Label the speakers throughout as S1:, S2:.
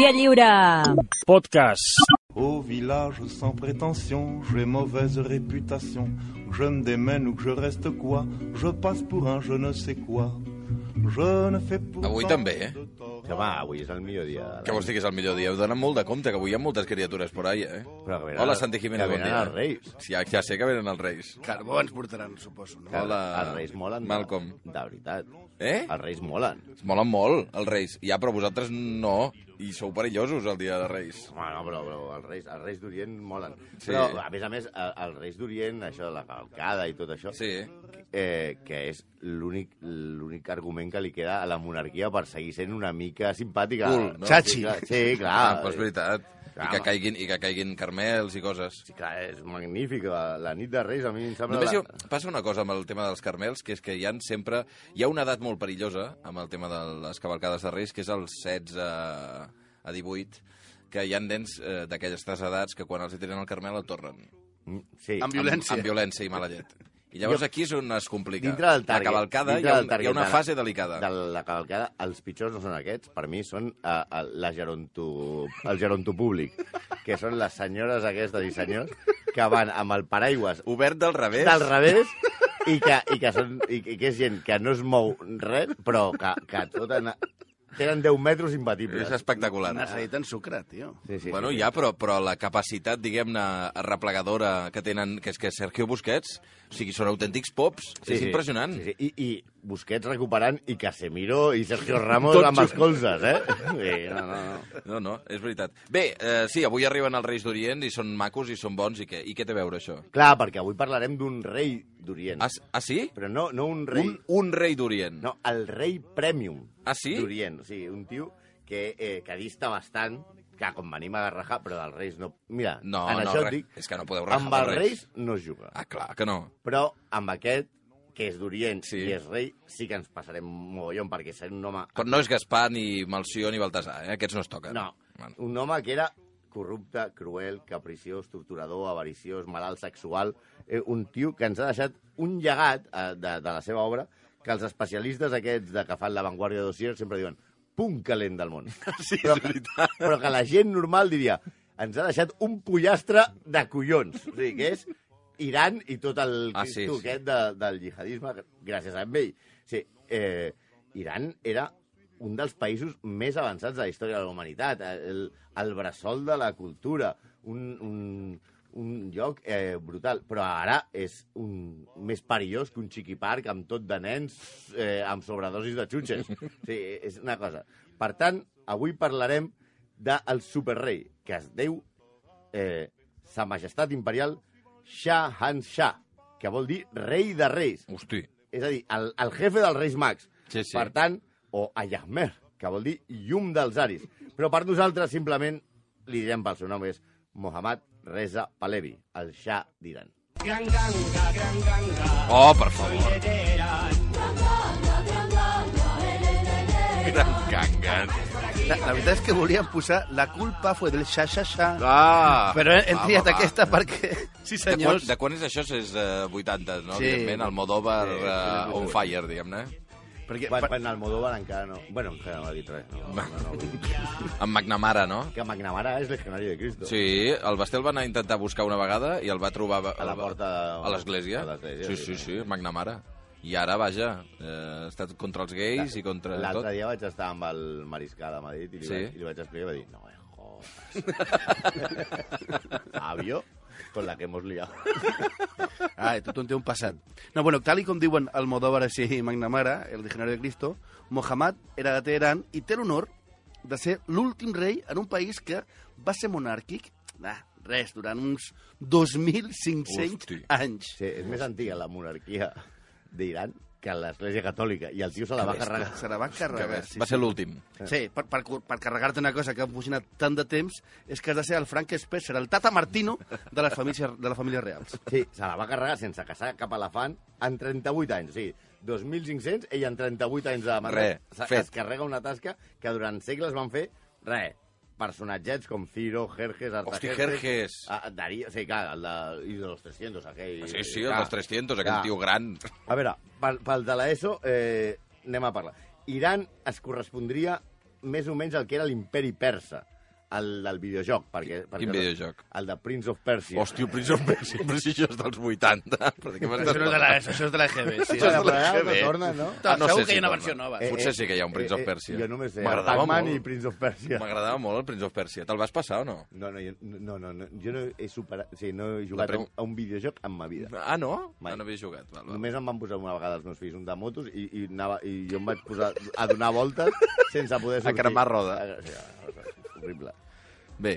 S1: Via lliure!
S2: Podcast.
S3: Au village sans prétention, j'ai mauvaise réputation. Que je me démène ou que je reste quoi, je passe pour un je ne sais quoi. Je ne fais pour
S4: Doncs
S5: Avui també, eh?
S4: Que va, avui és el millor dia. de l'any.
S5: Què vols dir que és el millor dia? Heu d'anar molt de compte, que avui hi ha moltes criatures por ahí, eh?
S4: Però que venen-
S5: Hola, Santi Jiménez,
S4: que
S5: bon
S4: venen
S5: dia.
S4: els Reis.
S5: Sí, ja, ja sé que venen els Reis.
S6: Carbó ens portaran, suposo, no?
S4: Que
S5: Hola,
S4: Els Reis molen. de-
S5: Malcolm.
S4: De veritat.
S5: Eh?
S4: Els Reis molen.
S5: Es molen molt, els Reis. Ja, però vosaltres no, i sou perillosos el dia de Reis.
S4: Home, no, però, però els Reis, els Reis d'Orient molen.
S5: Sí.
S4: Però, a més a més, el- els Reis d'Orient, això de la cavalcada i tot això,
S5: Sí.
S4: eh, que és l'únic l'únic argument que li queda a la monarquia per seguir sent una mica simpàtica.
S5: Cool, no?
S4: Sí,
S6: Chachi.
S4: clar, sí, clar.
S5: Ah, però és veritat. I
S4: Clar,
S5: que
S4: eh, home.
S5: caiguin, i que caiguin carmels i coses.
S4: Sí, clar, és magnífic. La, la nit de Reis a mi em sembla...
S5: Només
S4: la...
S5: jo, passa una cosa amb el tema dels carmels, que és que hi ha sempre... Hi ha una edat molt perillosa amb el tema de les cavalcades de Reis, que és el 16 a, a 18, que hi ha nens eh, d'aquelles tres edats que quan els hi tiren el carmel el tornen.
S4: Mm, Sí.
S6: Amb violència.
S5: Amb, amb violència i mala llet. I llavors aquí és on es complica.
S4: Dintre del target.
S5: La cavalcada hi
S4: dintre
S5: ha,
S4: del
S5: un,
S4: target
S5: hi ha una
S4: de la-
S5: fase delicada.
S4: De la cavalcada, els pitjors no són aquests, per mi són eh, el- la geronto, el geronto públic, que són les senyores aquestes i senyors que van amb el paraigües
S5: Obert del revés.
S4: del revés i que, i que, són, i, i que és gent que no es mou res, però que, que tot en, tenen 10 metres imbatibles.
S5: És espectacular.
S6: Necessiten sucre, tio.
S4: Sí, sí.
S5: Bueno, ja, però, però la capacitat, diguem-ne, replegadora que tenen, que és que Sergio Busquets, o sigui, són autèntics pops. Sí, és impressionant.
S4: Sí, sí. I, I Busquets recuperant i Casemiro i Sergio Ramos
S5: Tots
S4: amb els
S5: junts.
S4: colzes, eh? Sí, no, no, no.
S5: No, no, és veritat. Bé, eh, sí, avui arriben els Reis d'Orient i són macos i són bons i què, I què té a veure això?
S4: Clar, perquè avui parlarem d'un rei d'Orient.
S5: Ah, s- ah sí?
S4: Però no, no un rei...
S5: Un, un rei d'Orient.
S4: No, el rei Premium
S5: Ah, sí?
S4: d'Orient. O sigui, un tio que, eh, que dista bastant, que com venim a rajar, però dels reis no... Mira,
S5: No,
S4: en
S5: no,
S4: això
S5: re-
S4: et dic...
S5: és que no podeu rajar
S4: Amb els
S5: dels
S4: reis
S5: reis.
S4: no es juga.
S5: Ah, clar que no.
S4: Però amb aquest, que és d'Orient
S5: Sí.
S4: sí. i és rei, sí que ens passarem mogollon, perquè serà un home...
S5: Però no és Gaspar, ni Malció, ni Baltasar, eh? Aquests no es toquen.
S4: No,
S5: Bueno.
S4: un home que era corrupte, cruel, capriciós, torturador, avariciós, malalt sexual, eh, un tio que ens ha deixat un llegat eh, de, de la seva obra que els especialistes aquests de que fan l'avantguàrdia de dossier sempre diuen punt calent del món. Sí, però, és veritat. Però que la gent normal diria ens ha deixat un pollastre de collons. O sigui, que és Iran i tot el
S5: Ah, sí,
S4: Cristo
S5: sí.
S4: aquest de, del jihadisme gràcies a ell. Sí, eh, Iran era un dels països més avançats de la història de la humanitat, el, el bressol de la cultura, un, un, un lloc eh, brutal. Però ara és un, més perillós que un xiqui parc amb tot de nens eh, amb sobredosis de xutxes. Sí, és una cosa. Per tant, avui parlarem del superrei, que es diu eh, Sa Majestat Imperial Shah Han Shah, que vol dir rei de reis.
S5: Hosti.
S4: És a dir, el, el jefe dels Reis Mags.
S5: Sí, sí.
S4: Per tant, o Ayahmer, que vol dir llum dels aris. Però per nosaltres, simplement, li direm pel seu nom, és Mohammad Reza Pahlavi, el Shah d'Iran.
S5: Oh, per favor. Gran cangan.
S6: La, la veritat és que volíem posar La culpa fue del xa-xa-xa,
S5: Ah,
S6: però hem
S5: va,
S6: triat
S5: va, va.
S6: aquesta perquè... Sí,
S5: De quan,
S6: senyors.
S5: de quan és això? És uh, 80, no?
S6: Sí.
S5: Evidentment, el Modover
S4: Sí, sí,
S5: uh,
S4: sí, sí.
S5: on fire, diguem-ne. eh?
S6: Perquè,
S4: Quan,
S6: per,
S4: quan Almodóvar encara no... Bueno, encara no ha dit res. No, no, no,
S5: Amb McNamara, no?
S4: Que McNamara és legionari de Cristo.
S5: Sí, el Basté el van intentar buscar una vegada i el va trobar...
S4: A la porta de-
S5: A l'església.
S4: a l'església,
S5: Sí,
S4: sí.
S5: sí, sí, McNamara. I ara, vaja, eh, ha estat contra els gais i contra tot.
S4: L'altre dia vaig estar amb el mariscal de Madrid i li,
S5: Sí.
S4: sí. vaig, i li vaig explicar i va dir, no me jodas. Fabio, con la que hemos liado.
S6: Ah, tothom té un passat. No, bueno, tal i com diuen Almodóvar així i McNamara, el legionari de Cristo, Mohammad era de Teheran i té l'honor de ser l'últim rei en un país que va ser monàrquic, ah, res, durant uns 2.500
S5: Hosti.
S6: anys.
S4: Sí, és més antiga la monarquia d'Iran que l'Església Catòlica, i el tio se la va carregar.
S6: Se la va
S5: Que bé,
S6: carregar. Sí,
S5: va ser l'últim.
S6: Sí, per, per, cur- per carregar-te una cosa que ha funcionat tant de temps és que has de ser el Frank Spencer, el Tata Martino de les famílies, de les famílies reals.
S4: Sí, se la va carregar sense caçar cap elefant en 38 anys, o sigui, 2.500, ell en 38 anys de mandat.
S5: Re,
S4: Se-
S5: fet.
S4: Es carrega una tasca que durant segles van fer, re, personatgets com Ciro, Jerjes, Artajerjes...
S5: Jerjes.
S4: Ah, Darío, sí, clar, el de, i de los 300, aquell...
S5: Sí, sí, el
S4: clar.
S5: dels 300, aquell
S4: Clar.
S5: tio gran.
S4: A veure, pel, pel de l'ESO eh, anem a parlar. Iran es correspondria més o menys el que era l'imperi persa, el del videojoc. Perquè, perquè
S5: Quin videojoc?
S4: El de Prince of Persia.
S5: Hòstia, Prince of Persia, però si això és dels 80. Però de què m'estàs
S6: Això no és de la,
S5: parlant?
S6: això és de la GB, sí.
S4: Això és de la
S6: GB.
S4: GB. Torna, no?
S6: Ah, no
S5: sé
S6: Segur que
S5: si
S6: hi ha una
S5: torna.
S6: versió nova.
S5: Eh, Potser sí que hi ha un Prince of Persia.
S4: jo només sé,
S5: M'agradava
S4: Pac-Man
S5: molt.
S4: i Prince of Persia.
S5: M'agradava molt el Prince of Persia. Te'l vas passar o no?
S4: No, no, jo, no, no, no, jo no he superat... O sigui, no he jugat
S5: prim-
S4: a, un, a un videojoc en ma vida.
S5: Ah, no?
S4: Mai.
S5: Ah, no havia jugat. Val, val.
S4: Només em van posar una vegada els meus fills un de motos i, i, anava, i jo em vaig posar a donar voltes sense poder sortir.
S5: cremar roda.
S4: A- sí, a- Horrible.
S5: Bé,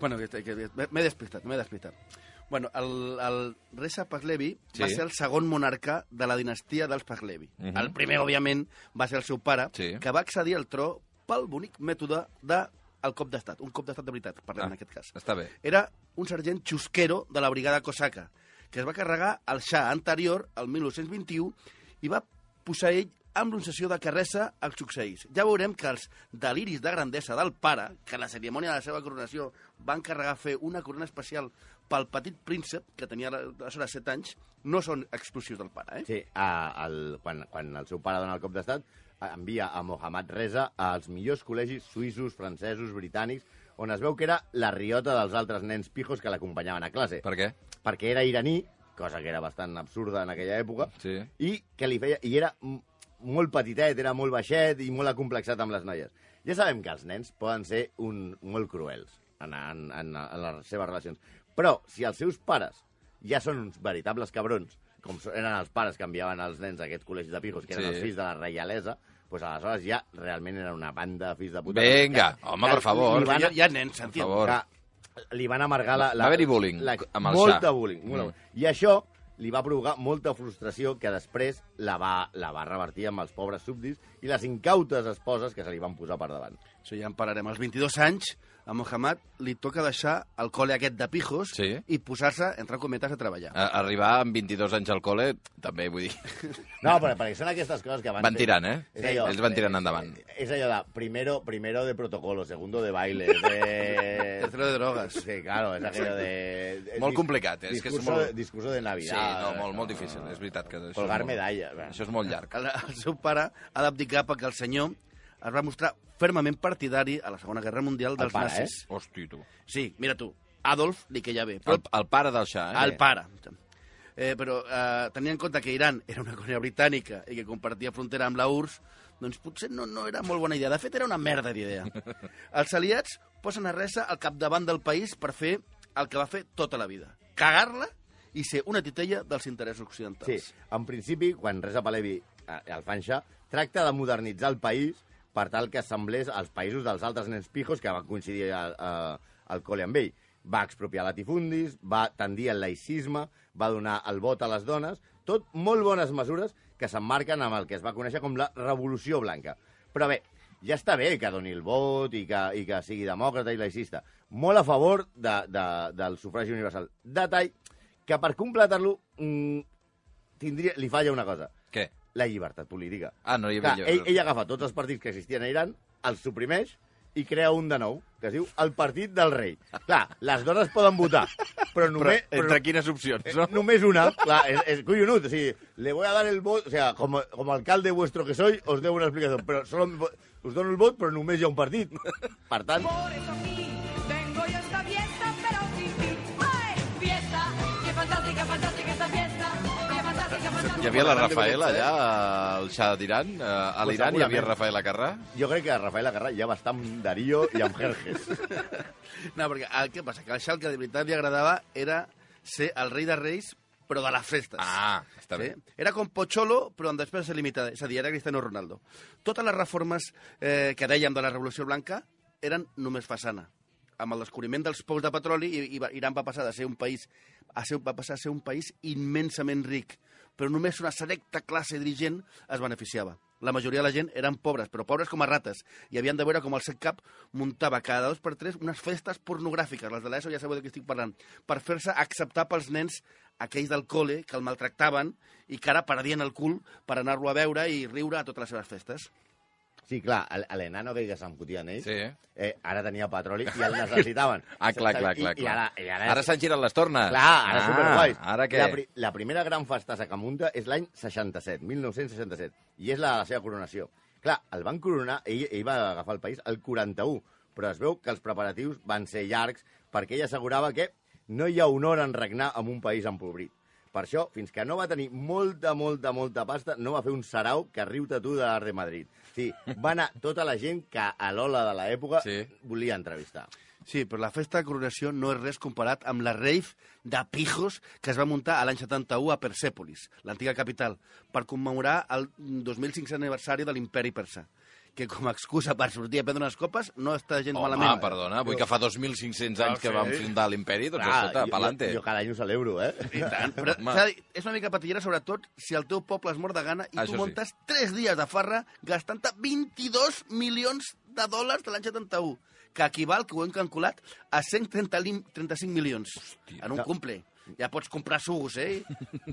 S6: Bueno, que, que, que m'he despistat, m'he despistat. Bueno, el, el Reza Pahlevi sí. va
S5: Sí.
S6: ser el segon monarca de la dinastia dels Pahlevi. Uh
S5: Mhm.
S6: -huh. El primer, òbviament, va ser el seu pare,
S5: Sí.
S6: que va accedir al tro pel bonic mètode de el cop d'estat, un cop d'estat de veritat, parlem
S5: Ah.
S6: ah. en aquest cas.
S5: està bé.
S6: Era un sergent xusquero de la brigada cosaca, que es va carregar el xa anterior, el 1921, i va posar ell amb l'oncessió de Carressa el succeís. Ja veurem que els deliris de grandesa del pare, que a la cerimònia de la seva coronació va encarregar fer una corona especial pel petit príncep, que tenia aleshores 7 anys, no són exclusius del pare, eh?
S4: Sí, a, el, quan, quan el seu pare dona el cop d'estat, a- envia a Mohamed Reza als millors col·legis suïssos, francesos, britànics, on es veu que era la riota dels altres nens pijos que l'acompanyaven a classe.
S5: Per què?
S4: perquè era iraní, cosa que era bastant absurda en aquella època,
S5: Sí.
S4: i que li feia... I era m- molt petitet, era molt baixet i molt acomplexat amb les noies. Ja sabem que els nens poden ser un, molt cruels en, en, en, en les seves relacions. Però si els seus pares ja són uns veritables cabrons, com so- eren els pares que enviaven els nens a aquests col·legis de pijos, que eren
S5: Sí.
S4: els fills de la reialesa, doncs aleshores ja realment era una banda de fills de puta.
S5: Vinga,
S4: Que-
S5: home,
S4: que
S5: per favor.
S4: li van-
S6: Hi ha, hi ha nens, s'entén.
S5: favor.
S4: que li van amargar la... la
S5: Va haver-hi bullying amb el
S4: molt
S5: Shah.
S4: de bullying. Molt de
S5: Mm.
S4: bullying. I això li va provocar molta frustració que després la va, la va revertir amb els pobres súbdits i les incautes esposes que se li van posar per davant.
S6: Això ja en parlarem. Als 22 anys, a Mohamed li toca deixar el col·le aquest de pijos
S5: Sí.
S6: i posar-se, entre cometes, a treballar.
S5: A- Arribar amb 22 anys al col·le, també, vull dir,
S4: No, però perquè són aquestes coses que van...
S5: van tirant, eh?
S4: És allò. eh,
S5: Ells van tirant endavant.
S4: És allò de primero, primero de protocolo, segundo de baile, de...
S6: Tercero de drogas.
S4: Sí, claro, és aquello de... de-
S5: Molt complicat, eh? és que és
S4: discurso,
S5: molt-
S4: de- Discurso de
S5: Sí,
S4: Navidad.
S5: no, molt, molt difícil. És veritat que... això és
S4: Colgar eh.
S5: molt-
S4: medalles, va.
S5: Això és molt llarg.
S6: El, el seu pare ha d'abdicar perquè el senyor es va mostrar fermament partidari a la Segona Guerra Mundial dels
S4: pare,
S6: nazis.
S5: Hosti, tu.
S6: Eh? Sí, mira tu, Adolf li que ja ve, però
S5: El,
S6: el,
S5: el pare del Xa, eh?
S6: el pare. Eh, però eh, tenint en compte que Iran era una colònia britànica i que compartia frontera amb la URSS, doncs potser no, no era molt bona idea. De fet, era una merda d'idea. Els aliats posen a Ressa al capdavant del país per fer el que va fer tota la vida. Cagar-la i ser una titella dels interessos
S4: Sí,
S6: occidentals.
S4: en principi, quan Reza Palevi eh, el fan xa, tracta de modernitzar el país per tal que semblés als països dels altres nens pijos que van coincidir al, eh, al col·le amb ell. Va expropiar latifundis, va tendir al laicisme, va donar el vot a les dones, tot molt bones mesures que s'emmarquen amb el que es va conèixer com la Revolució Blanca. Però bé, ja està bé que doni el vot i que, i que sigui demòcrata i laicista. Molt a favor de, de, del sufragi universal. Detall que per completar-lo mm, tindria, li falla una cosa,
S5: Què?
S4: la llibertat política.
S5: Ah, no hi havia...
S4: Clar, ell, ell agafa tots els partits que existien a Iran, els suprimeix i crea un de nou, que es diu el Partit del Rei. Clar, les dones poden votar, però només...
S5: Però, entre quines opcions,
S4: Eh,
S5: no?
S4: Només una, clar, és, és collonut. O sigui, le voy a dar el vot, o sea, com, com a alcalde vuestro que soy, os deu una explicació, però solo em vo- us dono el vot, però només hi ha un partit. Per tant,
S1: Por eso aquí vengo yo a esta fiesta, pero sin ti. ¡Ay! Fiesta, qué fantástica, fantástica esta fiesta. Qué fantástica, fantástica.
S5: Hi havia la Rafaela allà, al Xa d'Iran, eh, a
S4: Pues
S5: l'Iran hi havia
S4: segurament.
S5: Rafaela Carrà.
S4: jo crec que Rafael Agarra ja va estar amb Darío i amb Jerjes.
S6: No, perquè el que passa, que el Xal que de veritat li agradava era ser el rei de reis, però de les festes.
S5: Ah, està
S6: Sí?
S5: bé.
S6: Era com Pocholo, però amb despesa limitada. És a dir, era Cristiano Ronaldo. Totes les reformes eh, que dèiem de la Revolució Blanca eren només façana. Amb el descobriment dels pous de petroli, i, i va- Iran va passar de ser un país a ser, va passar a ser un país immensament ric, però només una selecta classe dirigent es beneficiava. La majoria de la gent eren pobres, però pobres com a rates, i havien de veure com el seu cap muntava cada dos per tres unes festes pornogràfiques, les de l'ESO ja sabeu de què estic parlant, per fer-se acceptar pels nens aquells del col·le que el maltractaven i que ara perdien el cul per anar-lo a veure i riure a totes les seves festes.
S4: Sí, clar, el- l'enano aquell que s'encutien ells,
S5: Sí.
S4: eh, ara tenia petroli i el necessitaven.
S5: Ah, clar, clar, clar.
S4: I, i
S5: clar.
S4: ara, i ara,
S5: Ara s'han girat les tornes.
S4: Clar,
S5: ah,
S4: ara ah, superguais.
S5: Ara què?
S4: La, pri la primera gran festassa que munta és l'any 67, 1967, i és la de la seva coronació. Clar, el van coronar, ell, ell va agafar el país el 41, però es veu que els preparatius van ser llargs perquè ell assegurava que no hi ha honor en regnar en un país empobrit. Per això, fins que no va tenir molta, molta, molta pasta, no va fer un sarau que riu-te tu de la Re Madrid. Sí, va anar tota la gent que a l'ola de l'època
S5: Sí.
S4: volia entrevistar.
S6: Sí, però la festa de coronació no és res comparat amb la rave de pijos que es va muntar a l'any 71 a Persepolis, l'antiga capital, per commemorar el 2500 aniversari de l'imperi persa que com a excusa per sortir a prendre unes copes no està gens
S5: Home,
S6: malament.
S5: perdona, vull que fa 2.500 anys que
S6: sí.
S5: vam fundar l'imperi, doncs
S4: Ah, Clar,
S5: escolta,
S4: jo-
S5: pa'lante.
S4: Jo, jo cada any ho celebro, eh?
S6: I tant, però
S5: Home.
S6: s'ha de dir, és una mica patillera, sobretot, si el teu poble es mor de gana i
S5: Això sí.
S6: tu muntes 3 dies de farra gastant-te 22 milions de dòlars de l'any 71, que equival, que ho hem calculat, a 135 milions Hòstia, en un
S4: que-
S6: cumple. Ja pots comprar sucs, eh?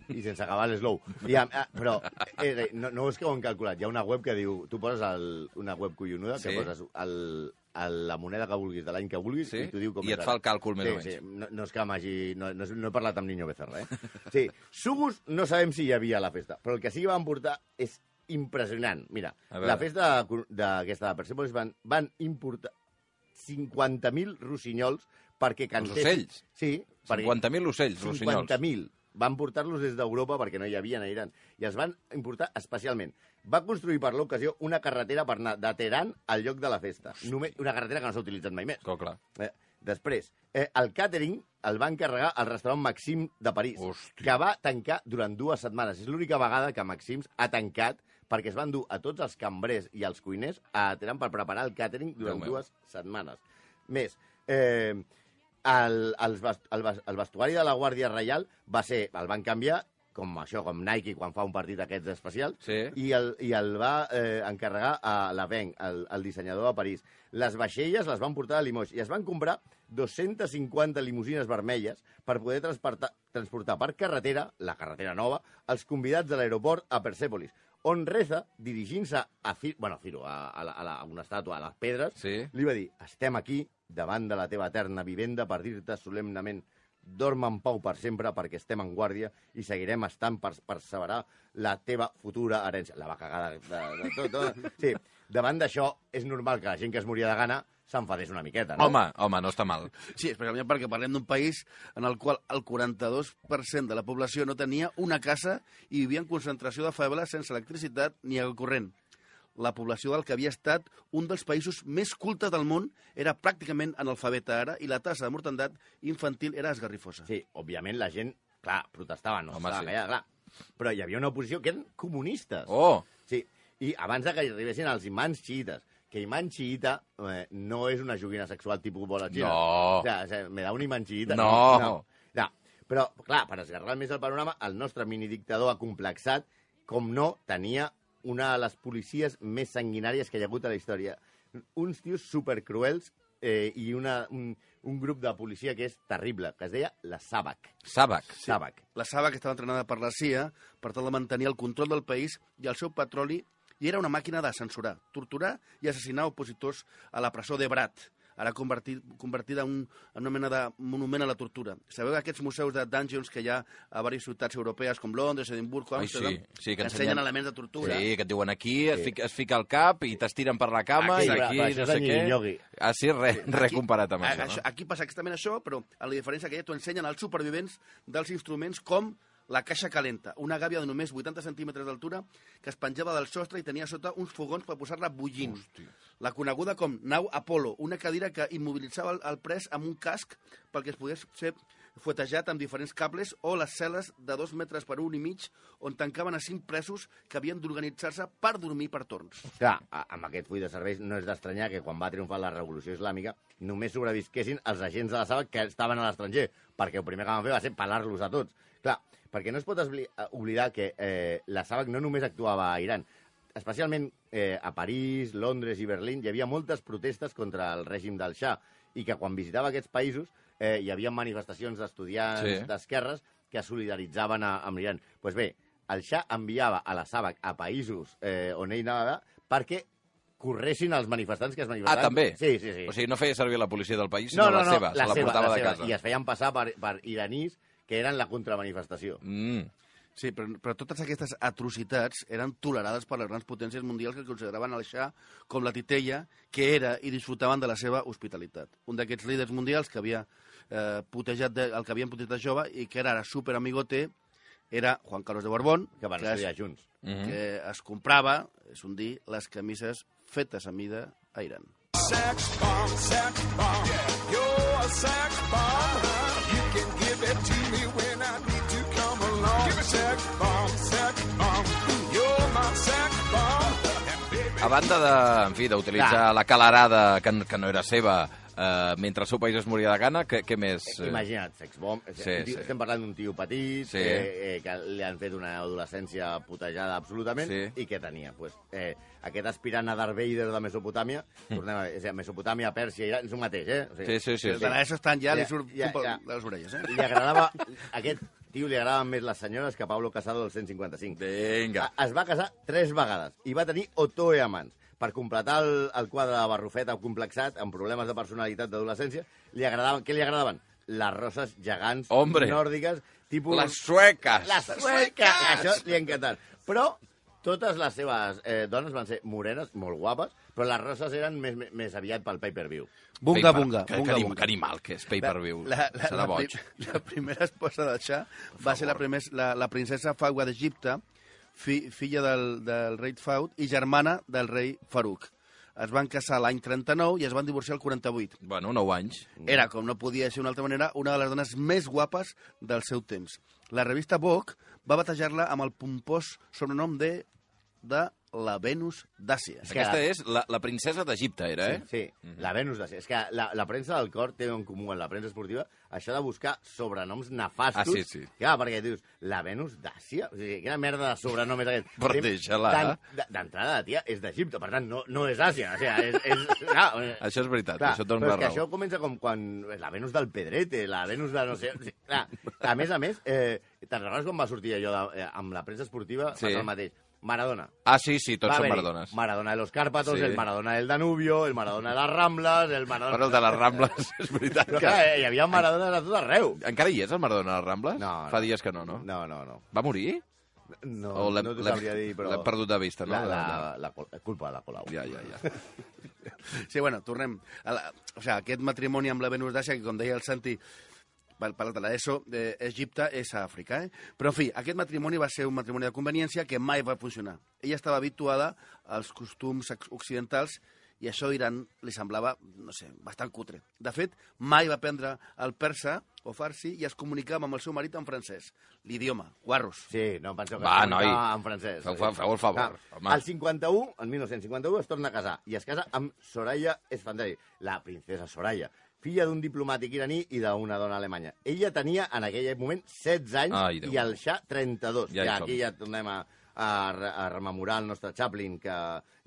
S4: I sense acabar l'eslou. I a- a- Però eh, eh, no, no és que ho han calculat. Hi ha una web que diu... Tu poses el, una web collonuda
S5: Sí.
S4: que poses el, el, la moneda que vulguis, de l'any que vulguis,
S5: Sí?
S4: i t'ho diu com
S5: I et
S4: és
S5: fa
S4: ara.
S5: el càlcul més
S4: sí,
S5: o menys.
S4: Sí. No, no és que m'hagi... No, no, és- no he parlat amb Niño Becerra, eh? Sí, sugus no sabem si hi havia a la festa, però el que sí que van portar és impressionant. Mira,
S5: A veure.
S4: la festa de cor- d'aquesta de Persepolis van, van importar 50.000 rossinyols perquè cantessin.
S5: ocells?
S4: Sí. perquè-
S5: 50.000 ocells, rossinyols.
S4: 50.000. Van portar-los des d'Europa perquè no hi havia a Iran. I els van importar especialment. Va construir per l'ocasió una carretera per anar de Teheran al lloc de la festa. Només una carretera que no s'ha utilitzat mai més.
S5: Clar, clar.
S4: Eh, després, eh, el càtering el va encarregar al restaurant Maxim de París,
S5: Hòstia.
S4: que va tancar durant dues setmanes. És l'única vegada que Maxims ha tancat perquè es van dur a tots els cambrers i els cuiners a Teheran per preparar el càtering durant
S5: meu.
S4: dues setmanes. Més, eh, el, el, bas- el, bas- el vestuari de la Guàrdia Reial va ser, el van canviar com això, com Nike quan fa un partit d'aquests especials,
S5: Sí.
S4: i el, i el va eh, encarregar a l'Avenc, el, el dissenyador de París. Les vaixelles les van portar a Limoges i es van comprar 250 limusines vermelles per poder transportar, transportar per carretera, la carretera nova, els convidats de l'aeroport a Persèpolis, on Reza, dirigint-se a, Cir bueno, a, Ciro, a, a, la, a, la, a una estàtua, a les pedres,
S5: Sí.
S4: li va dir, estem aquí, davant de la teva eterna vivenda, per dir-te solemnament dorm en pau per sempre perquè estem en guàrdia i seguirem estant per perseverar la teva futura herència. La va cagar de, de, de tot, tot. Sí, davant d'això és normal que la gent que es moria de gana s'enfadés una miqueta, no?
S5: Home, home, no està mal.
S6: Sí, especialment perquè parlem d'un país en el qual el 42% de la població no tenia una casa i vivia en concentració de faveles sense electricitat ni el corrent. La població del que havia estat un dels països més cultes del món era pràcticament analfabeta ara i la tassa de mortandat infantil era esgarrifosa.
S4: Sí, òbviament la gent, clar, protestava, no
S5: Home,
S4: estava
S5: sí.
S4: callada, clar. Però hi havia una oposició que eren comunistes.
S5: Oh,
S4: Sí, i abans de que hi arribessin els imants xiites, que imant xiita eh, no és una joguina sexual tipus bola xina.
S5: No.
S4: O sigui, me da un imant xiita.
S5: No.
S4: no. no. Però, clar, per esgarrar més el panorama, el nostre minidictador acomplexat, com no, tenia una de les policies més sanguinàries que hi ha hagut a la història. Uns tios supercruels eh, i una, un, un grup de policia que és terrible, que es deia la Sàbac.
S5: sàbac.
S4: Sí. Sàbac.
S6: La Saba, que estava entrenada per la CIA, per tal de mantenir el control del país i el seu petroli, i era una màquina de censurar, torturar i assassinar opositors a la presó de Brat, ara convertit, convertida en, un, en una mena de monument a la tortura. Sabeu d'aquests museus de dungeons que hi ha a diverses ciutats europees, com Londres, Edimburg,
S5: Ai,
S6: Amsterdam,
S5: sí, sí, que
S6: que ensenyen
S5: ensenyen-
S6: elements de tortura?
S5: Sí, que et diuen aquí, es, fica, es fica al cap i t'estiren per la cama
S4: Aquí,
S5: i
S4: però-
S5: aquí,
S4: però això
S5: no
S4: és
S5: sé
S4: el
S5: què.
S4: nyogui.
S5: Ah, sí, res, res
S6: Aquí-
S5: comparat amb
S6: a-
S5: això,
S6: això.
S5: no?
S6: Aquí passa exactament això, però a la diferència que ja t'ho ensenyen als supervivents dels instruments com la caixa calenta, una gàbia de només 80 centímetres d'altura que es penjava del sostre i tenia a sota uns fogons per posar-la bullint. La coneguda com nau Apolo, una cadira que immobilitzava el, el pres amb un casc perquè es pogués ser fuetejat amb diferents cables o les cel·les de dos metres per un i mig on tancaven a cinc presos que havien d'organitzar-se per dormir per torns.
S4: Clar, a- amb aquest full de serveis no és d'estranyar que quan va triomfar la revolució islàmica només sobrevisquessin els agents de la Saba que estaven a l'estranger, perquè el primer que van fer va ser pelar-los a tots. Clar, perquè no es pot esbli- eh, oblidar que eh, la Saba no només actuava a Iran, especialment eh, a París, Londres i Berlín hi havia moltes protestes contra el règim del Shah i que quan visitava aquests països eh, hi havia manifestacions d'estudiants,
S5: Sí.
S4: de d'esquerres que solidaritzaven a, amb l'Iran. Doncs pues bé, el Shah enviava a la Sàbac a països eh, on ell anava perquè corressin els manifestants que es
S5: Ah,
S4: manifestaven.
S5: també?
S4: Sí, sí, sí.
S5: O sigui, no feia servir la policia del país, sinó la seva, se la portava de
S4: seva.
S5: casa.
S4: I es feien passar per, per iranís que eren la contramanifestació.
S5: Mm.
S6: Sí, però, però totes aquestes atrocitats eren tolerades per les grans potències mundials que consideraven el Shah com la titella que era i disfrutaven de la seva hospitalitat. Un d'aquests líders mundials que havia eh, putejat de, el que havien putejat jove i que era ara superamigote era Juan Carlos de Borbón,
S4: que van
S6: que,
S4: estudiar
S6: es,
S4: junts.
S5: Mhm.
S6: que es comprava, és un dir, les camises fetes a mida a Iran.
S2: Sex bomb, sex bomb. You're a sex bomb. You can give it to me when I need to come along. Give it sex bomb, sex bomb. You're my sex bomb. And baby,
S5: A banda de, en fi, d'utilitzar la calarada que, n- que no era seva eh, mentre el seu país es moria de gana, què, què més? eh?
S4: Sí. Imagina't, sex bomb.
S5: Sí,
S4: Sí, tio,
S5: sí.
S4: Estem parlant d'un tio petit
S5: Sí.
S4: sí. eh, eh, que li han fet una adolescència putejada absolutament
S5: Sí.
S4: i què tenia? Pues, eh, aquest aspirant a Darth Vader de Mesopotàmia, tornem a, és a dir, Mesopotàmia, Pèrsia, Iran, és el mateix, eh? O
S5: Mm. Sí, sí, sí.
S6: Sí. De la ESO estan ja, li
S4: Ja,
S6: surt
S4: ja,
S6: un pel-
S4: ja.
S6: de les orelles, eh?
S4: Li agradava, a aquest tio li agradaven més les senyores que a Pablo Casado del 155.
S5: Vinga.
S4: A- Ah, Es va casar tres vegades i va tenir Otoe amants. Per completar el, el quadre de Barrufeta complexat, amb problemes de personalitat d'adolescència, li agradaven, què li agradaven? Les roses gegants
S5: Hombre.
S4: nòrdiques, tipus...
S5: Les sueques!
S4: Les sueques! Això li ha encantat. Però totes les seves eh, dones van ser morenes, molt guapes, però les roses eren més, més- més aviat pel pay-per-view.
S6: Bunga,
S5: Pay per-
S6: bunga,
S5: que,
S6: bunga,
S5: que, anim-
S6: bunga.
S5: Que animal que és, pay-per-view.
S6: La, la,
S5: Serà
S6: la,
S5: boig.
S6: pri- la primera esposa de Xà va ser la, primer, la, la princesa Fawa d'Egipte, fi, filla del, del rei Faud i germana del rei Farouk. Es van casar l'any 39 i es van divorciar el 48.
S5: Bueno, 9 anys.
S6: Era, com no podia ser d'una altra manera, una de les dones més guapes del seu temps. La revista Vogue va batejar-la amb el pompós sobrenom de, de la Venus d'Àsia.
S4: És que
S5: Aquesta
S4: la-
S5: és la, la princesa d'Egipte, era, eh?
S4: Sí, la Venus de... És que la, la premsa del cor té en comú en la premsa esportiva això de buscar sobrenoms nefastos.
S5: Ah, sí, sí.
S4: Clar, perquè dius, la Venus d'Àsia? O sigui, quina merda de sobrenom és aquest?
S5: Però
S4: Té-
S5: deixa-la.
S4: d'en- d- D'entrada, la tia és d'Egipte, per tant, no, no és Àsia. O sigui, és... és clar, eh,
S5: Això és veritat,
S4: clar,
S5: això et dono
S4: però
S5: la
S4: és que
S5: raó.
S4: això comença com quan... La Venus del Pedrete, la Venus de no sé... O sigui, clar, a més a més, eh, te'n recordes quan va sortir allò de, eh, amb la premsa esportiva?
S5: Sí.
S4: Sí. el mateix. Maradona,
S5: Ah, sí, sí, tots
S4: Va
S5: són
S4: haver-hi
S5: Maradones.
S4: Maradona de los Cárpatos,
S5: Sí.
S4: el Maradona del Danubio, el Maradona de les Rambles, el Maradona...
S5: Però el de les Rambles, és veritat
S4: Però,
S5: que...
S4: clar, eh, hi havia Maradona de tot arreu.
S5: Encara hi és el Maradona a les Rambles?
S4: No,
S5: Fa
S4: no.
S5: dies que no, no?
S4: No, no, no.
S5: Va morir?
S4: No,
S5: O l'hem-
S4: no t'ho
S5: l'hem-
S4: sabria dir, però...
S5: l'hem perdut de vista, no?
S4: La,
S5: De-
S4: la,
S5: de-
S4: la, col- culpa de la Colau.
S5: Ja, ja, ja.
S6: Sí, bueno, tornem. A la, o sigui, aquest matrimoni amb la Venus d'Àsia, que com deia el Santi, per parlar de l'ESO, d'Egipte és a Àfrica, eh? Però, en fi, aquest matrimoni va ser un matrimoni de conveniència que mai va funcionar. Ella estava habituada als costums ex- occidentals i això a Iran li semblava, no sé, bastant cutre. De fet, mai va aprendre el persa o farsi i es comunicava amb el seu marit en francès. L'idioma, guarros.
S4: Sí, no penseu que
S5: Va,
S4: es comunicava
S5: noi.
S4: en francès.
S5: Feu- feu- feu el favor, home.
S4: El 51, el 1951, es torna a casar i es casa amb Soraya Esfandari, la princesa Soraya, filla d'un diplomàtic iraní i d'una dona alemanya. Ella tenia en aquell moment 16 anys
S5: Ai, Déu.
S4: i el Shah 32.
S5: Ja hi
S4: Ja, ja
S5: som.
S4: aquí ja tornem a, a, re- a rememorar el nostre Chaplin, que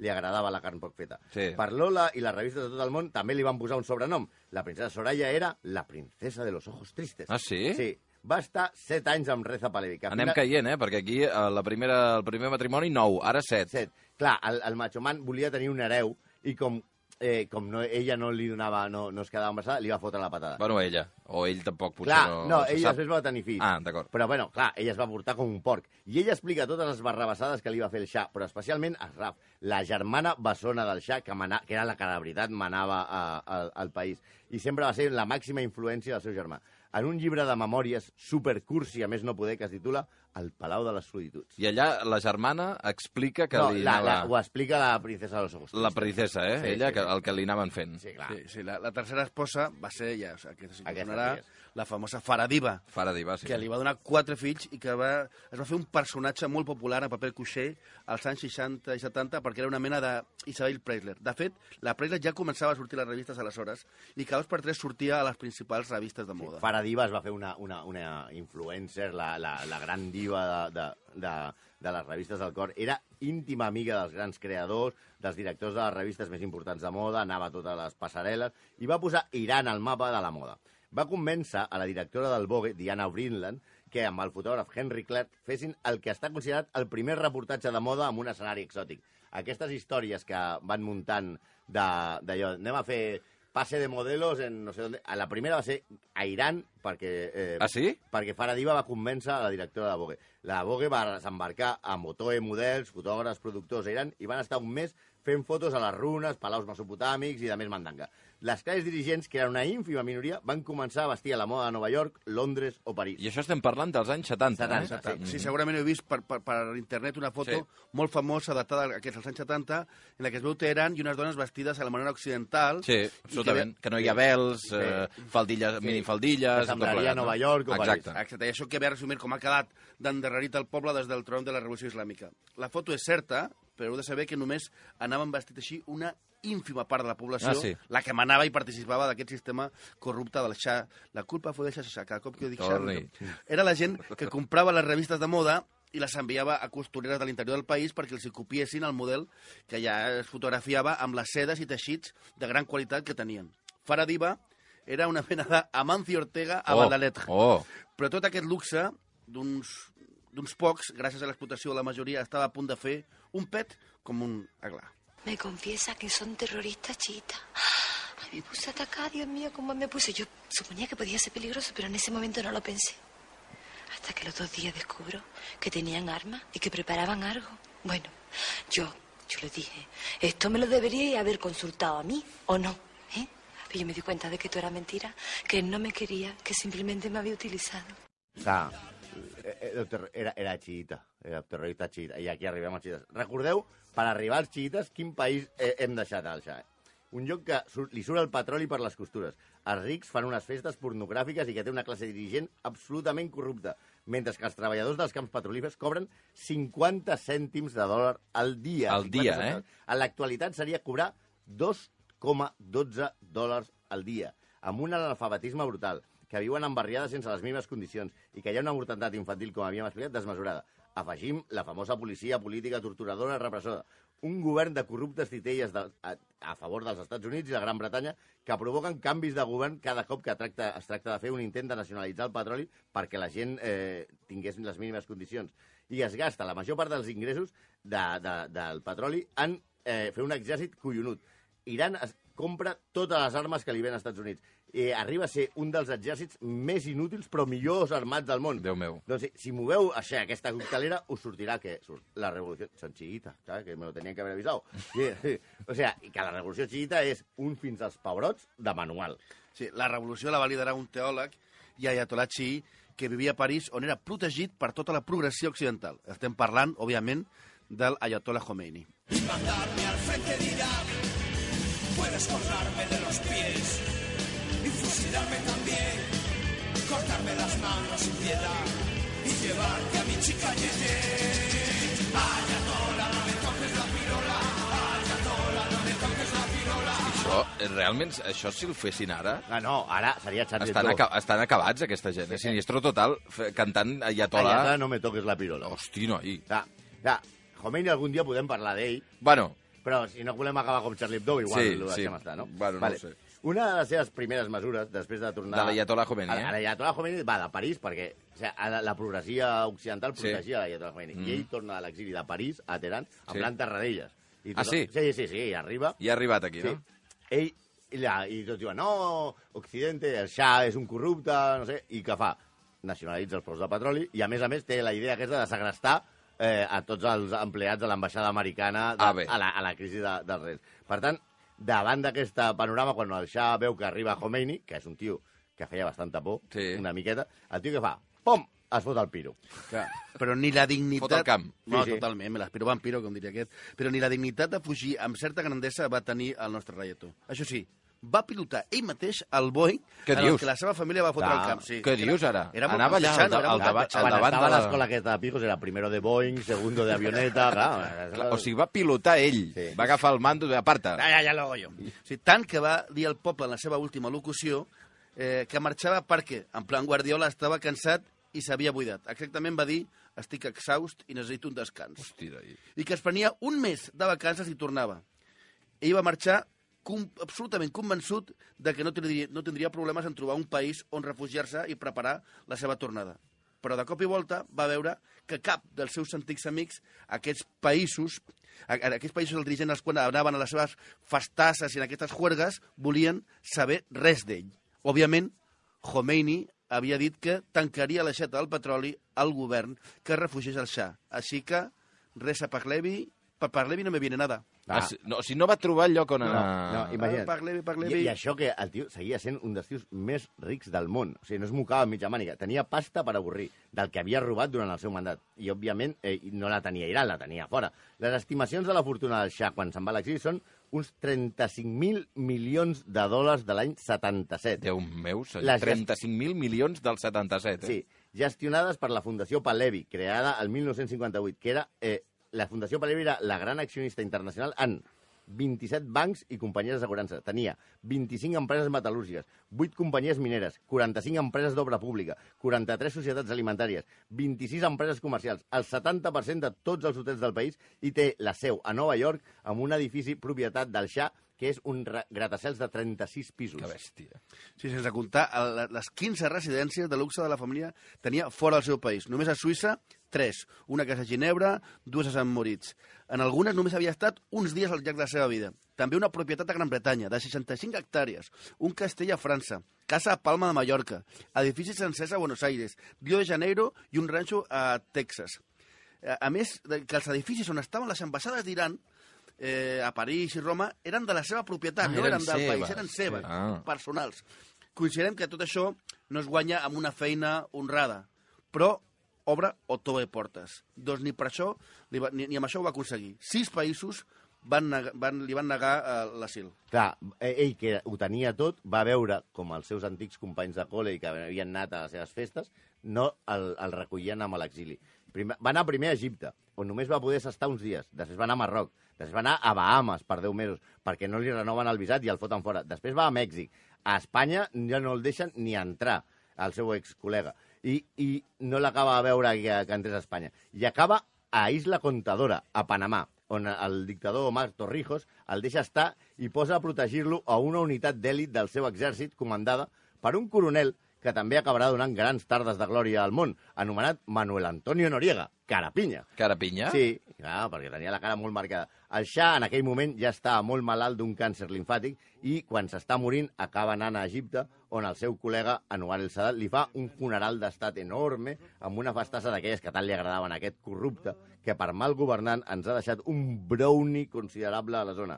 S4: li agradava la carn poc feta.
S5: Sí.
S4: Per Lola i les revistes de tot el món també li van posar un sobrenom. La princesa Soraya era la princesa de los ojos tristes.
S5: Ah, sí?
S4: Sí. Va estar 7 anys amb Reza Palevi. que
S5: Anem
S4: fina-
S5: caient, eh? Perquè aquí eh, la primera, el primer matrimoni, 9, ara 7.
S4: set. Clar, el, el machoman volia tenir un hereu i com, eh, com no, ella no li donava, no, no es quedava embarassada, li va fotre la patada.
S5: Bueno, ella. O ell tampoc, potser
S4: clar,
S5: no,
S4: no,
S5: se
S4: ella
S5: sap.
S4: després va tenir fills.
S5: Ah, d'acord.
S4: Però, bueno, clar, ella es va portar com un porc. I ella explica totes les barrabassades que li va fer el Xà, però especialment a Raf, la germana bessona del Xà, que, mana, que era la que de veritat manava a, a, al país. I sempre va ser la màxima influència del seu germà. En un llibre de memòries supercursi, a més no poder, que es titula El Palau de les Solituds.
S5: I allà la germana explica que
S4: no,
S5: li
S4: la, la, ho
S5: anava...
S4: explica la princesa de los ojos.
S5: La, princesa, eh?
S4: Sí,
S5: ella,
S4: sí,
S5: que,
S4: sí.
S5: el que li anaven fent.
S4: Sí, clar.
S6: Sí, sí, la, la tercera esposa va ser, ja, o sigui, aquesta sí que
S4: Aquesta
S6: sonarà,
S4: sí
S6: la famosa Faradiva,
S5: Faraday va, sí.
S6: que li va donar quatre fills i que va, es va fer un personatge molt popular a paper coixer als anys 60 i 70 perquè era una mena d'Isabel Preisler. De fet, la Preisler ja començava a sortir a les revistes aleshores i cada dos per tres sortia a les principals revistes de moda.
S4: Farah Diva es va fer una, una, una influencer, la, la, la gran diva de, de, de, de les revistes del cor. Era íntima amiga dels grans creadors, dels directors de les revistes més importants de moda, anava a totes les passarel·les i va posar Iran al mapa de la moda. Va convèncer a la directora del Vogue, Diana Brinland, que amb el fotògraf Henry Clark fessin el que està considerat el primer reportatge de moda amb un escenari exòtic. Aquestes històries que van muntant de- d'allò, anem a fer pase de modelos en no sé dónde. A la primera va ser a Iran, perquè... Eh,
S5: Ah, sí?
S4: Perquè Faradiva va convèncer a la directora de Vogue. La Vogue va desembarcar amb Otoe, models, fotògrafs, productors a Iran i van estar un mes fent fotos a les runes, palaus mesopotàmics i de més mandanga. Les classes dirigents, que eren una ínfima minoria, van començar a vestir a la moda de Nova York, Londres o París.
S5: I això estem parlant dels anys 70,
S4: 70,
S5: eh?
S6: Sí, segurament heu vist per, per, per internet una foto
S5: Sí.
S6: molt famosa, datada a aquests als anys 70, en la que es veu Teheran i unes dones vestides a la manera occidental.
S5: Sí,
S6: i
S5: absolutament.
S6: Que,
S5: Que no hi ha vels, eh, faldilles, minifaldilles...
S4: Que semblaria
S5: tot plegat,
S4: Nova York o París.
S5: Exacte.
S6: ve- exacte, i això que ve a resumir com ha quedat d'endarrerit el poble des del tron de la Revolució Islàmica. La foto és certa, però heu de saber que només anaven vestit així una ínfima part de la població,
S5: Ah, sí.
S6: la que manava i participava d'aquest sistema corrupte del xa. La culpa fou de xa, xa, cada cop que ho dic xa,
S5: Torni.
S6: era la gent que comprava les revistes de moda i les enviava a costureres de l'interior del país perquè els hi copiessin el model que ja es fotografiava amb les sedes i teixits de gran qualitat que tenien. Faradiva era una mena d'Amancio Ortega a
S5: Oh,
S6: Badaletra.
S5: oh.
S6: Però tot aquest luxe d'uns d'uns pocs, gràcies a l'explotació de la majoria, estava a punt de fer un pet com un aglà.
S7: Me confiesa que son terroristas chiita. Ay, me puse a atacar, Dios mío, cómo me puse. Yo suponía que podía ser peligroso, pero en ese momento no lo pensé. Hasta que los dos días descubro que tenían armas y que preparaban algo. Bueno, yo, yo le dije, esto me lo deberíais haber consultado a mí, ¿o no? ¿Eh? Pero yo me di cuenta de que todo era mentira, que él no me quería, que simplemente me había utilizado.
S4: Ah, eh, eh, era, era xiita, era terrorista xiita, i aquí arribem als xiites. Recordeu, per arribar als xiites, quin país eh, hem deixat al Shah? Un lloc que surt, li surt el petroli per les costures. Els rics fan unes festes pornogràfiques i que té una classe dirigent absolutament corrupta, mentre que els treballadors dels camps petrolífers cobren 50 cèntims de dòlar al dia.
S5: Al dia,
S4: 50
S5: eh?
S4: cèntims. En l'actualitat seria cobrar 2,12 dòlars al dia, amb un analfabetisme brutal, que viuen en barriades sense les mínimes condicions i que hi ha una mortalitat infantil, com havíem explicat, desmesurada. Afegim la famosa policia política torturadora repressora. Un govern de corruptes titelles de, a, a favor dels Estats Units i la Gran Bretanya que provoquen canvis de govern cada cop que tracta, es tracta de fer un intent de nacionalitzar el petroli perquè la gent eh, tingués les mínimes condicions. I es gasta la major part dels ingressos de, de, del petroli en eh, fer un exèrcit collonut. Iran es compra totes les armes que li ven als Estats Units. Eh, arriba a ser un dels exèrcits més inútils però millors armats del món.
S5: Déu meu.
S4: Doncs si, si moveu així aquesta coctelera, us sortirà que surt la revolució... Són xiïta, clar, que me lo tenien que haver avisat. Sí, sí. O sea, i que la revolució xiïta és un fins als pebrots de manual.
S6: Sí, la revolució la va liderar un teòleg, Ayatollah Chi, que vivia a París, on era protegit per tota la progressió occidental. Estem parlant, òbviament, del Ayatollah Khomeini.
S8: mandarme al frente de Irak. Puedes cortarme de los pies y fusilarme también, cortarme las manos sin piedad y llevarte a mi chica Yeye. Ayatola, no me toques la pirola. Ayatola, no me toques la pirola.
S5: Això, eh, realment, això si el fessin ara...
S4: Ah, no, ara seria Charlie
S5: Estan, aca estan acabats, aquesta gent. És sinistro total, fe- cantant Ayatollah.
S4: Allà no me toques la pirola.
S5: Hosti, noi.
S4: Clar, clar, Khomeini algun dia podem parlar d'ell,
S5: Bueno,
S4: Però si no volem acabar com Charlie Hebdo, igual
S5: Sí,
S4: ho deixem
S5: sí.
S4: estar, no?
S5: Bueno, no ho sé.
S4: Una de les seves primeres mesures, després de tornar...
S5: De l'Ayatollah Khomeini, eh?
S4: A l'Ayatollah Khomeini va de París, perquè o sigui, a la, la progressia occidental
S5: Sí.
S4: protegia sí. l'Ayatollah Khomeini. Mm. I ell torna a l'exili de París, a Teherán,
S5: Sí.
S4: amb sí. plantes radelles. I
S5: Ah, sí?
S4: Sí, sí, sí, i arriba...
S5: ja ha arribat aquí, no?
S4: Sí. Ell, i, la, I tots diuen, no, Occidente, el Shah és un corrupte, no sé, i què fa? Nacionalitza els preus de petroli i, a més a més, té la idea aquesta de segrestar eh, a tots els empleats de l'ambaixada americana de,
S5: Ah, bé.
S4: a, la, a la crisi de, dels rents. Per tant, davant d'aquest panorama, quan el Shah veu que arriba Khomeini, que és un tio que feia bastanta por,
S5: Sí.
S4: una miqueta, el tio que fa? Pom! Es fot el piro.
S6: Però ni
S5: Fot
S6: la
S5: el
S6: dignitat...
S5: camp.
S6: No,
S4: Sí,
S6: sí,
S4: sí.
S6: sí. totalment, me l'aspiro vampiro, com diria aquest. Però ni la dignitat de fugir amb certa grandesa va tenir el nostre reietó. Això sí, va pilotar ell mateix el Boeing
S5: Què
S6: en
S5: dius?
S6: el que la seva família va fotre
S4: Clar.
S6: al camp. Sí.
S5: Què dius, ara?
S6: Era molt
S5: Anava allà
S6: campechano,
S5: al da-
S6: era
S5: al
S6: molt
S5: davant-
S6: campechano.
S4: Quan
S5: davant
S4: estava
S5: de
S4: a
S5: la-
S4: l'escola aquesta de pijos era primero de Boeing, segundo de avioneta, clar.
S5: Clar, o sigui, va pilotar ell.
S4: Sí.
S5: Va agafar el mando de aparta.
S6: Ah, Ja, ja, ja lo hago yo. Sí, tant que va dir al poble en la seva última locució eh, que marxava perquè, en plan Guardiola, estava cansat i s'havia buidat. Exactament va dir, estic exhaust i necessito un descans.
S5: Hosti, noi.
S6: I que es prenia un mes de vacances i tornava. Ell va marxar com, absolutament convençut de que no tindria, no tindria problemes en trobar un país on refugiar-se i preparar la seva tornada. Però de cop i volta va veure que cap dels seus antics amics, aquests països A- En aquests països els dirigents, quan anaven a les seves festasses i en aquestes juergues, volien saber res d'ell. Òbviament, Khomeini havia dit que tancaria l'aixeta del petroli al govern que refugés el Shah. Així que res a Parlevi, per Parlevi no me viene nada.
S5: Ah, si, no, o sigui, no va trobar el lloc on
S4: No,
S5: anar...
S4: no, imagina't.
S6: Parlevi, Parlevi.
S4: I, I això que el tio seguia sent un dels tios més rics del món. O sigui, no es mocava mitja màniga. Tenia pasta per avorrir del que havia robat durant el seu mandat. I, òbviament, eh, no la tenia a Iran, la tenia a fora. Les estimacions de la fortuna del Shah quan se'n va a l'exili són uns 35.000 milions de dòlars de l'any 77.
S5: Déu meu, senyor,
S4: Les gest-
S5: 35.000 milions del 77, eh?
S4: Sí, gestionades per la Fundació Palevi, creada el 1958, que era... Eh, la Fundació Palevi era la gran accionista internacional en 27 bancs i companyies d'assegurança. Tenia 25 empreses metal·lúrgiques, 8 companyies mineres, 45 empreses d'obra pública, 43 societats alimentàries, 26 empreses comercials, el 70% de tots els hotels del país i té la seu a Nova York amb un edifici propietat del Xà que és un ra- gratacels de 36 pisos.
S5: Que bèstia.
S6: Sí, sense comptar el- les 15 residències de luxe de la família tenia fora del seu país. Només a Suïssa, 3. Una casa a Ginebra, dues a Sant Moritz. En algunes només havia estat uns dies al llarg de la seva vida. També una propietat a Gran Bretanya, de 65 hectàrees, un castell a França, casa a Palma de Mallorca, edificis sencers a Buenos Aires, Rio de Janeiro i un ranxo a Texas. A Eh, a més, de- que els edificis on estaven les ambaixades d'Iran, eh, a París i Roma, eren de la seva propietat,
S5: Ah,
S6: no
S5: eren
S6: eren del
S5: seves.
S6: país, eren seves,
S5: Sí. Ah.
S6: personals. Considerem que tot això no es guanya amb una feina honrada, però obre o tova portes. Doncs ni per això, li va, ni, ni amb això ho va aconseguir. Sis països van negar, van, li van negar eh, l'asil.
S4: Clar, eh, ell que ho tenia tot va veure com els seus antics companys de col·le i que havien anat a les seves festes no el, el recollien amb l'exili. Primer, va anar primer a Egipte, on només va poder estar uns dies. Després va anar a Marroc. Després va anar a Bahamas per 10 mesos, perquè no li renoven el visat i el foten fora. Després va a Mèxic. A Espanya ja no el deixen ni entrar, el seu ex-col·lega. I, I no l'acaba de veure que, que entrés a Espanya. I acaba a Isla Contadora, a Panamà, on el dictador Omar Torrijos el deixa estar i posa a protegir-lo a una unitat d'èlit del seu exèrcit comandada per un coronel que també acabarà donant grans tardes de glòria al món, anomenat Manuel Antonio Noriega, Carapinya.
S5: Carapinya?
S4: Sí, clar, perquè tenia la cara molt marcada. El Shah en aquell moment ja estava molt malalt d'un càncer linfàtic i quan s'està morint acaba anant a Egipte on el seu col·lega Anwar el Sadat li fa un funeral d'estat enorme amb una festassa d'aquelles que tant li agradaven a aquest corrupte que per mal governant ens ha deixat un brownie considerable a la zona.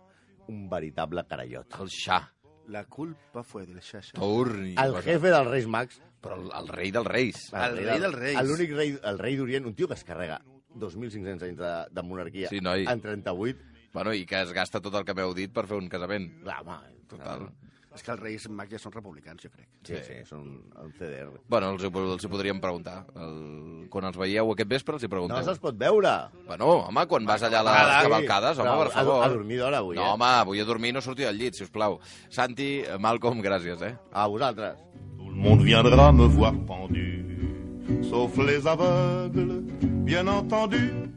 S4: Un veritable carallot.
S5: El Shah.
S6: La culpa fue del Shasha.
S5: Torni.
S4: El jefe dels Reis Mags
S5: Però el, el rei dels reis.
S6: El rei dels reis.
S4: L'únic rei, el rei d'Orient, un tio que es carrega 2.500 anys de, de monarquia
S5: Sí, noi.
S4: en 38.
S5: Bueno, i que es gasta tot el que m'heu dit per fer un casament.
S4: Clar, home,
S5: Total.
S6: És que els reis mags ja són republicans, jo crec.
S4: Sí, sí, són un CDR.
S5: Bueno, els, ho- els hi podríem preguntar. El... Quan els veieu aquest vespre, els hi
S4: No
S5: pregunteu.
S4: se'ls pot veure.
S5: Bueno, home, quan vas allà a les
S4: Cavalcada, sí.
S5: cavalcades, home,
S4: Però
S5: per
S4: a-
S5: favor.
S4: a dormir d'hora, avui,
S5: No,
S4: eh?
S5: home, avui a dormir no sortir del llit, si us plau. Santi, eh, Malcolm, gràcies, eh?
S4: A vosaltres.
S3: Tout le monde viendra me voir pendu, sauf les aveugles, bien entendu.